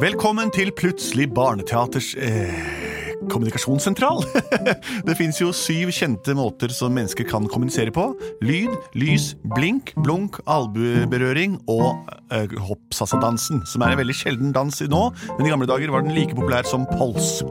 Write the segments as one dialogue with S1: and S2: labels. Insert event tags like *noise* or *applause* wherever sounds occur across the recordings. S1: Velkommen til Plutselig barneteaters eh, kommunikasjonssentral. *laughs* det fins jo syv kjente måter som mennesker kan kommunisere på. Lyd, lys, blink, blunk, albueberøring og eh, hoppsassadansen, som er en veldig sjelden dans nå, men i gamle dager var den like populær som pols.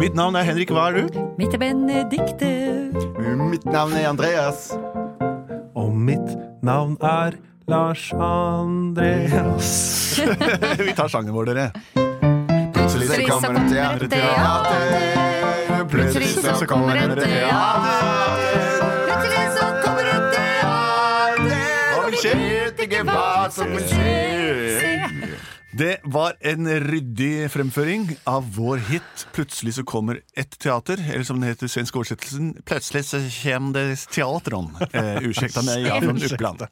S1: Mitt navn er Henrik, hva er du? *laughs*
S2: Mitt er Benedikte.
S3: Mitt navn er Andreas.
S4: Og mitt navn er Lars Andreas.
S1: Vi tar sangen vår, dere.
S3: Plutselig så kommer det teater, teater. Plutselig så kommer det teater.
S2: Plutselig så kommer det
S3: Hva vil skje? Vet ikke hva som vil skje.
S1: Det var en ryddig fremføring av vår hit 'Plutselig så kommer et teater', eller som den heter i svensk oversettelsen 'Plutselig så kommer det teatron'. Eh, Ursäkta meg, jeg er fra Uppland.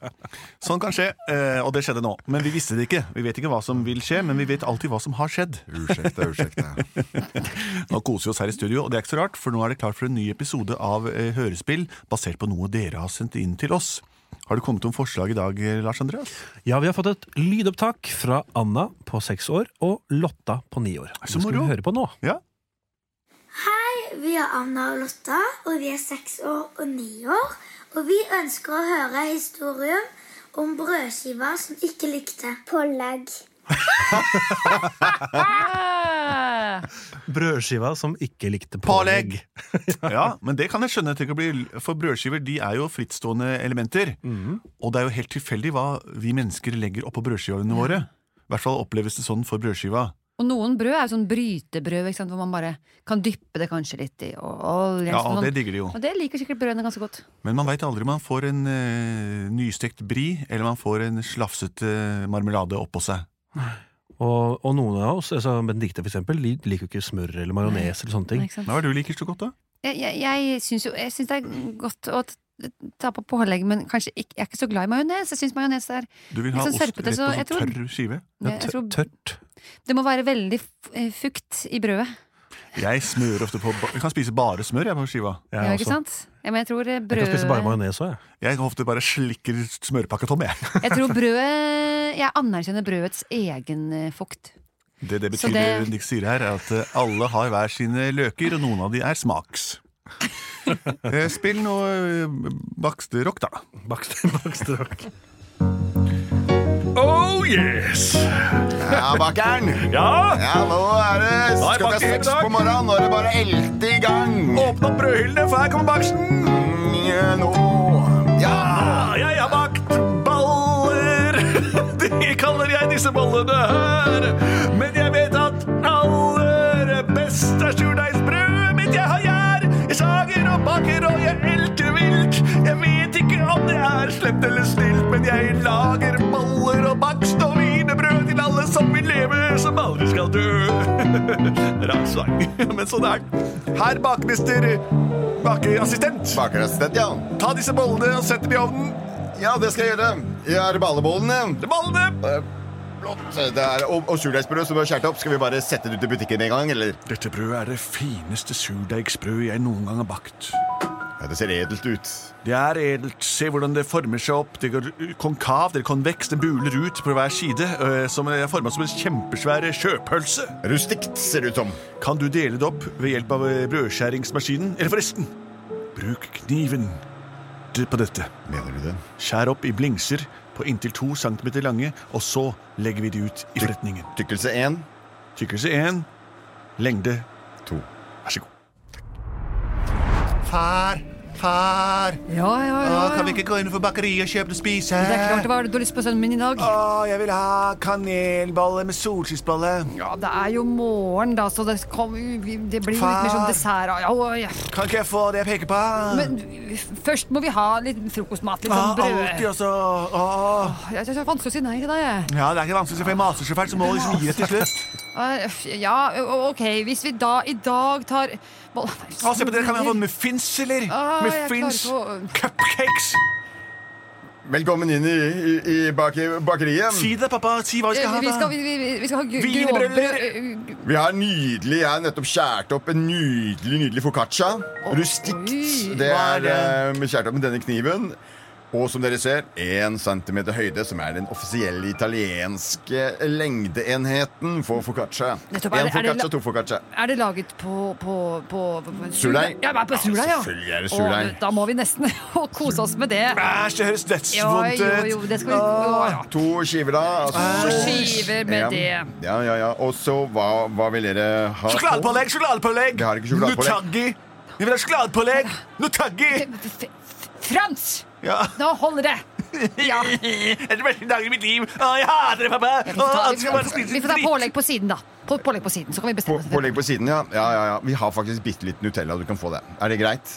S1: Sånn kan skje, eh, og det skjedde nå. Men vi visste det ikke. Vi vet ikke hva som vil skje, men vi vet alltid hva som har skjedd.
S3: Ursäkta, ursäkta.
S1: Nå koser vi oss her i studio, og det er ikke så rart, for nå er det klart for en ny episode av eh, Hørespill, basert på noe dere har sendt inn til oss. Har det kommet noen forslag i dag, eh, Lars Andreas?
S4: Ja, vi har fått et lydopptak fra Anna på seks år og Lotta på ni år. Det
S1: Så
S4: skal vi
S1: moro.
S4: høre på nå.
S1: Ja?
S5: Vi er Anna og Lotta, og vi er seks år og ni år. Og vi ønsker å høre historien om brødskiva som ikke likte pålegg.
S4: Brødskiva som ikke likte
S1: Pålegg! ja, men det kan jeg skjønne. Tenk å bli, for brødskiver de er jo frittstående elementer.
S4: Mm.
S1: Og det er jo helt tilfeldig hva vi mennesker legger oppå brødskivene våre. I hvert fall oppleves det sånn for brødskiva.
S2: Og noen brød er jo sånn brytebrød, ikke sant? hvor man bare kan dyppe det kanskje litt i og olje.
S1: Ja,
S2: sånn.
S1: og det digger de jo.
S2: og det liker sikkert brødene ganske godt.
S1: Men man veit aldri om man får en eh, nystekt bri, eller man får en slafsete marmelade oppå seg.
S4: Og, og noen av oss, altså Benedicte for eksempel, de liker jo ikke smør eller majones eller sånne ting.
S2: Nei, ikke sant?
S1: Hva er det du liker så godt, da?
S2: Jeg, jeg, jeg syns jo jeg synes det er godt å t- ta på pålegg, men kanskje ikke, jeg er ikke så glad i majones. Jeg syns majones er
S1: Du vil
S2: Litt
S1: ha
S2: sånn
S1: ost rett
S2: sørpete,
S1: på
S2: så
S1: sånn
S2: jeg tror-
S1: tørr skive?
S4: Det
S2: jeg
S4: er
S2: tror-
S4: tø- tørt.
S2: Det må være veldig f- eh, fukt i brødet.
S1: Jeg smører ofte på ba- Jeg kan spise bare smør jeg på skiva.
S4: Jeg,
S2: Ja,
S4: er
S2: ikke
S4: også.
S2: sant? Ja, men jeg tror eh,
S4: jeg kan spise bare
S2: brødet
S4: majones òg, jeg.
S1: Jeg kan ofte bare slikker smørpakka tom, jeg.
S2: Jeg tror brødet Jeg anerkjenner brødets egen eh, fukt.
S1: Det det
S2: Så
S1: betyr,
S2: det-
S1: Nick sier her, er at eh, alle har hver sine løker, og noen av de er
S2: *laughs*
S1: smaks. Eh, Spill noe eh, baksterock, da.
S4: *laughs* Baksterock. Oh yes!
S3: Ja, bakkeren.
S4: Ja!
S3: Ja, nå er det
S4: Da er
S3: klokka
S4: bakken i
S3: seks
S4: dag.
S3: på morgenen. Nå er det bare å elte i gang.
S4: Åpne opp brødhyllene, for her kommer baksten!
S3: Mm, Nå. Ja.
S4: Jeg har bakt baller! *laughs* De kaller jeg disse bollene her. Men jeg vet at aller best er surdeigsbrødet mitt jeg har gjær. Jeg sager og baker og jeg elter vilt. Jeg vet ikke om det er slemt eller snilt, men jeg lager baller og bakst og wienerbrød til alle som vil leve, som aldri skal dø. *laughs* Rar sang, *laughs* men sånn er den. Herr bakmester, bakeassistent.
S3: Bakerassistent, ja.
S4: Ta disse bollene og sett dem i ovnen.
S3: Ja, det skal jeg gjøre. Jeg har ballebollene.
S4: Bollene!
S3: Flott. Det er, og og surdeigsbrød som er skåret opp. Skal vi bare sette det ut i butikken en gang, eller?
S1: Dette brødet er det fineste surdeigsbrød jeg noen gang har bakt.
S3: Ja, det ser edelt ut.
S1: Det er edelt. Se hvordan det former seg opp. Det går konkavt, det er konveks, det buler ut på hver side. eh, Som er forma som en kjempesvær sjøpølse.
S3: Rustikt, ser det ut som.
S1: Kan du dele det opp ved hjelp av eh, brødskjæringsmaskinen? Eller forresten, bruk kniven Det- på dette.
S3: Mener du det?
S1: Skjær opp i blingser på inntil to centimeter lange, og så legger vi de ut i forretningen.
S3: Tykkelse én,
S1: Tykkelse én, lengde
S3: to.
S1: Vær så god.
S3: Far, far,
S2: Ja, ja, ja. ja.
S1: Ah, ikke gå inn for bakeriet og kjøpe noe å spise?
S2: Det er klart, Hva har du lyst på sønnen min i dag?
S1: Å, jeg vil ha kanelbolle med solskinnsbolle.
S2: Ja, Det er jo morgen, da, så det, kom, det blir jo litt mer sånn
S1: Far.
S2: dessert. Ja, ja, ja.
S1: Kan ikke jeg få det jeg peker på?
S2: Men først må vi ha litt frokostmat. Litt
S1: Ah,
S2: sånn brød.
S1: også
S2: Jeg synes det er vanskelig å si nei til deg. jeg.
S1: Ja, det er ikke vanskelig, for jeg maser så fælt, så må liksom gi det til slutt.
S2: Ah, Ja, o- OK, hvis vi da i dag tar Å,
S1: Å, Ah, se på dere, kan jeg få muffins, eller?
S2: Ah, jeg
S1: muffins,
S2: klarer ikke å-
S1: cupcakes.
S3: Velkommen inn i, i, i bake- bakeriet.
S1: Si det, pappa. Si hva vi skal ha.
S2: Eh, Vi
S1: da.
S2: skal, vi, vi, vi skal ha gu-
S1: Wienerbrød.
S2: grovbrød.
S3: Vi har nydelig, Jeg har nettopp skåret opp en nydelig nydelig foccaccia. Rustikt.
S2: Oi,
S3: Det
S1: hva er
S3: er
S1: det?
S3: eh, skåret opp med denne kniven. Og som dere ser, 1 cm høyde, som er den offisielle italienske lengdeenheten for foccaccia.
S2: Nettopp, er
S3: Én
S2: det- er det
S3: foccaccia,
S2: la-
S3: to foccaccia.
S2: Er det laget på, på, på, på
S3: Surdeig.
S2: Ja, bare på
S3: Ja,
S2: surdeig, ja.
S3: selvfølgelig er det surdeig.
S2: Å, Da må vi nesten *laughs* kose oss med det.
S4: Æsj, det høres
S2: Ja,
S4: dødsvondt
S2: jo,
S4: ut.
S2: jo, det skal vi å, ja.
S3: To skiver, da. altså-
S2: To skiver med
S3: ja.
S2: det.
S3: Ja, ja, ja. Og så hva, hva vil dere ha? på?
S4: Sjokoladepålegg, sjokoladepålegg!
S3: Jeg har ikke sjokoladepålegg.
S4: Nutaggi! Vi vil ha sjokoladepålegg! Nutaggi!
S2: F- f- Frans!
S4: Ja.
S2: Nå holder
S4: *laughs*
S2: det! Ja.
S4: Det er de beste dagene i mitt liv! Å, jeg hater det, pappa!
S2: Vi
S4: Å,
S2: får ta,
S4: alt skal bare
S2: vi,
S4: spise
S2: vi får ta
S4: dritt.
S2: pålegg på siden, da. På, pålegg på siden, så kan vi bestemme
S3: På,
S2: oss.
S3: pålegg på siden, ja. ja, ja, ja. Vi har faktisk bitte litt Nutella. Du kan få det. Er det greit?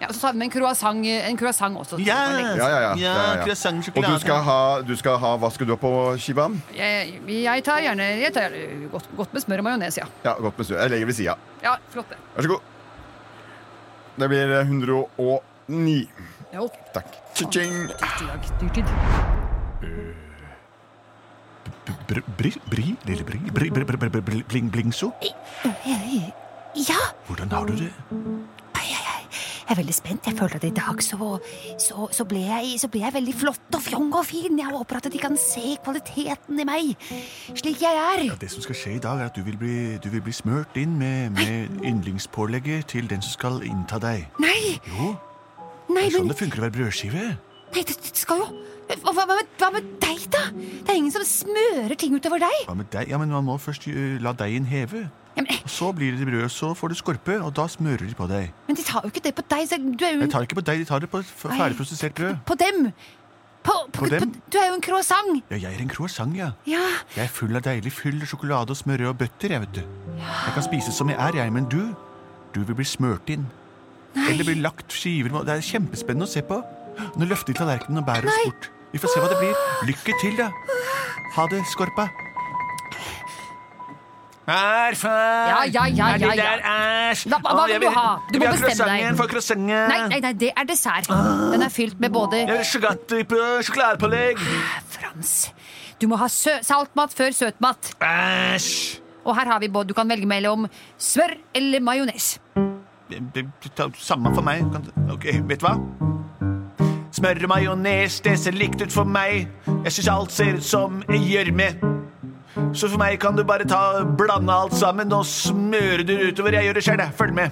S2: Ja, og så tar vi med en croissant, en croissant også.
S4: Ja,
S3: Ja, ja, ja. ja, ja, ja.
S4: croissant,
S3: Og
S4: sjokolade.
S3: du skal, ha, du skal ha Hva skal du ha på skiva?
S2: Jeg, jeg tar gjerne, jeg tar gjerne godt, godt med smør og majones, ja.
S3: Ja, godt med snø. Jeg legger ved sida.
S2: Ja, flott det.
S3: Vær så god. Det blir 109.
S2: Ja, ok.
S3: Takk. Cha-ching.
S2: Dyrtid, dyrtid.
S1: Br, bri, bri, lille bri, bri, bri, bri, bri, bri, bri bling, blingso.
S6: Ja,
S1: Hvordan har du det?
S6: jeg er veldig spent. Jeg føler at i dag så, så, så, ble jeg, så ble jeg veldig flott og fjong og fin. Jeg håper at de kan se kvaliteten i meg slik jeg er.
S1: Det som skal skje i dag, er at du vil bli, du vil bli smørt inn med, med yndlingspålegget til den som skal innta deg.
S6: Nei,
S1: Jo,
S6: nei,
S1: det er
S6: men
S1: sånn det funker å være brødskive.
S6: nei, det, det skal jo hva, hva, med, hva med deg, da? Det er ingen som smører ting utover deg.
S1: Hva med deg? Ja, men man må først ø, la deigen heve.
S6: Ja, men,
S1: Og så blir det brød, så får du skorpe, og da smører de på deg.
S6: men de tar jo ikke det på deg. Så du er jo
S1: Jeg
S6: en,
S1: tar ikke på deg, de tar det på f- ferdigprosessert brød.
S6: på dem. På, på,
S1: På dem?
S6: På, du er jo en croissant.
S1: Ja, jeg er en croissant, ja.
S6: Ja,
S1: Jeg er full av deilig fyll, sjokolade og smør og bøtter, jeg, vet du. Jeg kan spise som jeg er, jeg, men du, du vil bli smørt inn. Eller bli lagt skiver med Det er kjempespennende å se på. Nå løfter de tallerkenen og bærer oss bort. Vi får se hva det blir. Lykke til, da. Ha det, Skorpa.
S4: Er far!
S2: Ja, ja, ja,
S4: Er det
S2: ja, ja.
S4: der æsj?
S2: Hva- hva
S4: Å,
S2: vil
S4: jeg
S2: du ha? Du
S4: jeg
S2: må
S4: vil ha
S2: bestemme deg.
S4: croissanten for croissanten.
S2: Nei, nei, nei, det er dessert. Den er fylt med både
S1: Ah.
S4: Jeg vil Sjokolade på sjokoladepålegg.
S2: Frans. Du må ha sø saltmat før søtmat.
S4: Æsj!
S2: Og her har vi både, du kan velge mellom smør eller majones.
S1: Det- det- det tar- Samme for meg. Kan du- Ok, vet du hva?
S4: Smør og majones, det ser likt ut for meg. Jeg syns alt ser ut som gjørme. Så for meg kan du bare ta blande alt sammen og smøre det utover. Jeg gjør det sjøl, jeg. Følg med.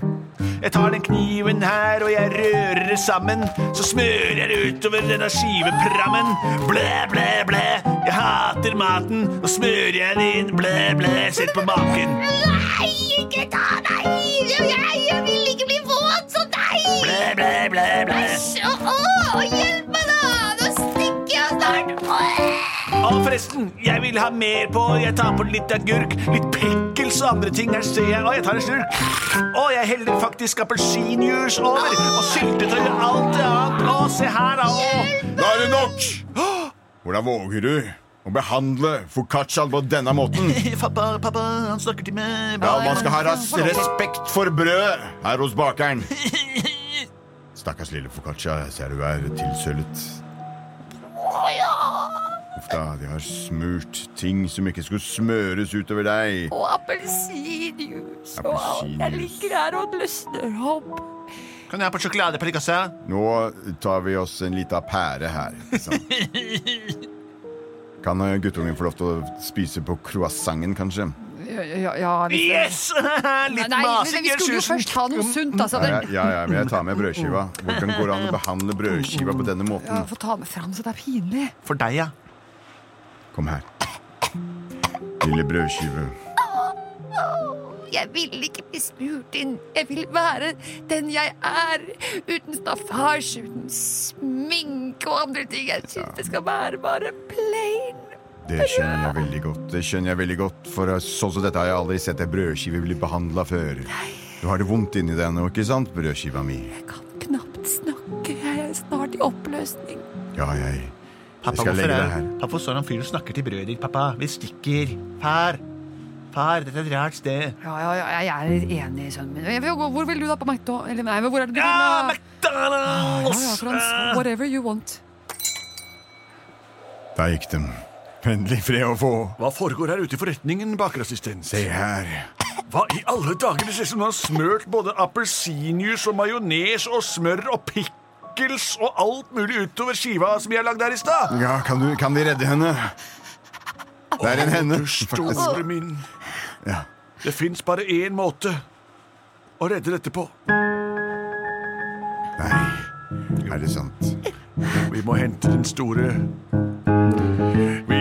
S4: Jeg tar den kniven her og jeg rører det sammen. Så smører jeg det utover denne skiveprammen. Blæ, blæ, blæ. Jeg hater maten. Og smører jeg det inn. Blæ, blæ. Sett på maken.
S6: Nei, ikke ta meg! Jeg, jeg vil ikke bli våt som deg!
S4: Blæ, blæ, blæ, blæ.
S6: Æsj! Å, å, hjelp meg, da! Nå stikker jeg snart! Åh!
S4: Og forresten, jeg vil ha mer på. Jeg tar på litt agurk, litt pickles og andre ting. Her ser jeg. Og jeg tar en slurk. Og jeg heller faktisk appelsinjuice over. Og syltetøy og alt det annet. Å, se her, da. Å,
S3: Da er det nok! Hvordan våger du å behandle foccacciaen på denne måten?
S4: *laughs* Pappa, pappa, han snakker til meg.
S3: Ja, Man skal ha ras- respekt for brødet her hos bakeren. *laughs* Stakkars lille foccaccia, jeg ser du er tilsølet. Uff da, de har smurt ting som ikke skulle smøres utover deg.
S6: Og appelsinjuice og alt. Jeg
S3: Appelsinjuice.
S6: ligger her og løsner opp.
S4: Kan jeg ha på sjokolade på likassa?
S3: Nå tar vi oss en lita pære her. Liksom. Kan eh, guttungen få lov til å spise på croissanten, kanskje?
S2: Ja, ja, ja, hvis-
S4: Yes! *laughs* Litt
S2: Nei,
S4: masing,
S2: vi skulle jo
S4: Jørgensen.
S2: først ha noe sunt, altså.
S3: Ja,
S2: Det-
S3: ja, ja, men jeg tar med brødskiva. Hvordan går det an å behandle brødskiva på denne
S2: Ja,
S3: måten?
S2: Få ta med Frans, det er pinlig.
S4: For deg, ja.
S3: Kom her. Lille brødskive.
S6: Jeg vil ikke bli smurt inn. Jeg vil være den jeg er. Uten staffasje, uten sminke og andre ting. Jeg syns det skal være bare plain.
S3: Det skjønner jeg veldig godt. Det skjønner jeg veldig godt, For sånn som dette har jeg aldri sett ei brødskive bli behandla før. Du har det vondt inni deg nå, ikke sant, brødskiva mi?
S6: Jeg kan knapt snakke. Jeg er snart i oppløsning.
S3: Ja, jeg Jeg
S4: Pappa,
S3: skal
S4: hvorfor
S3: legge
S4: er
S3: deg her.
S4: Pappa, hvorfor står han fyren og snakker til brødet ditt, pappa? Vi stikker. Far. Far, dette er et rart sted.
S2: Ja, ja, ja, jeg er litt enig i sønnen min. Jeg vil gå- Hvor vil du da på McDonald's? Eller nei, men hvor er det du vil
S4: Ja,
S2: da?
S3: Ah,
S2: Ja,
S4: McDonald's!
S2: ja, Frans. Whatever you want.
S3: Der gikk den. Vennlig fred å få.
S1: Hva foregår her ute i forretningen, bakerassistent?
S3: Se her.
S4: Hva i alle dager? Det ser ut som du har smørt både appelsinjuice og majones og smør og pikk...
S1: akkels og alt mulig utover skiva som jeg lagde her i stad.
S3: Ja, kan, du, kan vi redde henne? Det er en henne.
S1: Du store min.
S3: Mm. Ja.
S1: Det fins bare én måte å redde dette på.
S3: Nei, er det sant?
S1: Vi må hente den store. Vi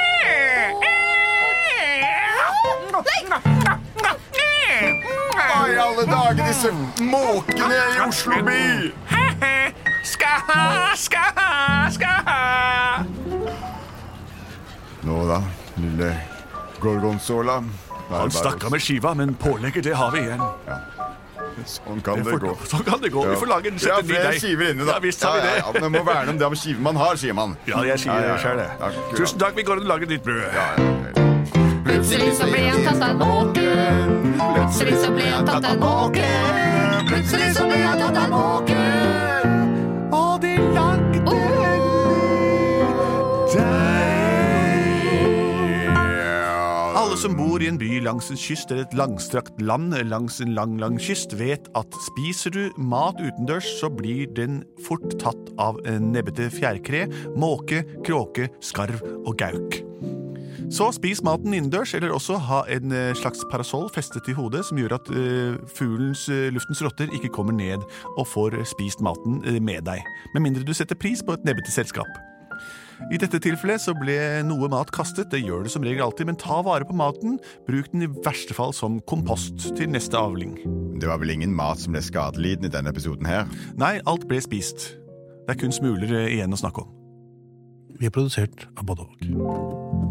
S3: Hva i alle dager, disse måkene i Oslo by?
S1: Skal ha, skal ha, skal ha.
S3: Nå da, lille Gorgonzola.
S1: Han stakk av med skiva, men pålegget, det har vi igjen.
S3: Sånn kan
S1: Det
S3: det
S1: får- *laughs*
S3: gå.
S1: Sånn kan det gå. Vi får lage en
S3: ja,
S1: sette ny
S3: flere
S1: deig.
S3: skiver inne, da.
S1: Ja, visst har vi det.
S3: Ja, ja, ja, men det må verne om det om skiven man har, sier man.
S1: Ja, jeg sier det sjøl, det.
S3: Akkurat.
S1: Tusen takk, vi går og lager nytt brød.
S2: Plutselig så ble han tatt av en måke. Plutselig så ble han tatt av en måke. Plutselig så ble han tatt av en måke.
S1: Og de lagde
S7: Alle som bor i en by langs en kyst eller et langstrakt land langs en lang, lang kyst, vet at spiser du mat utendørs, så blir den fort tatt av en nebbete fjærkre, måke, kråke, skarv og gauk. Så spis maten innendørs, eller også ha en eh, slags parasoll festet til hodet som gjør at eh, fuglens, eh, luftens rotter ikke kommer ned og får eh, spist maten eh, med deg. Med mindre du setter pris på et nebbete selskap. I dette tilfellet så ble noe mat kastet, det gjør det som regel alltid, men ta vare på maten, bruk den i verste fall som kompost til neste avling.
S3: Det var vel ingen mat som ble skadelidende i denne episoden her?
S7: Nei, alt ble spist. Det er kun smuler eh, igjen å snakke om.
S4: Vi er produsert av både og.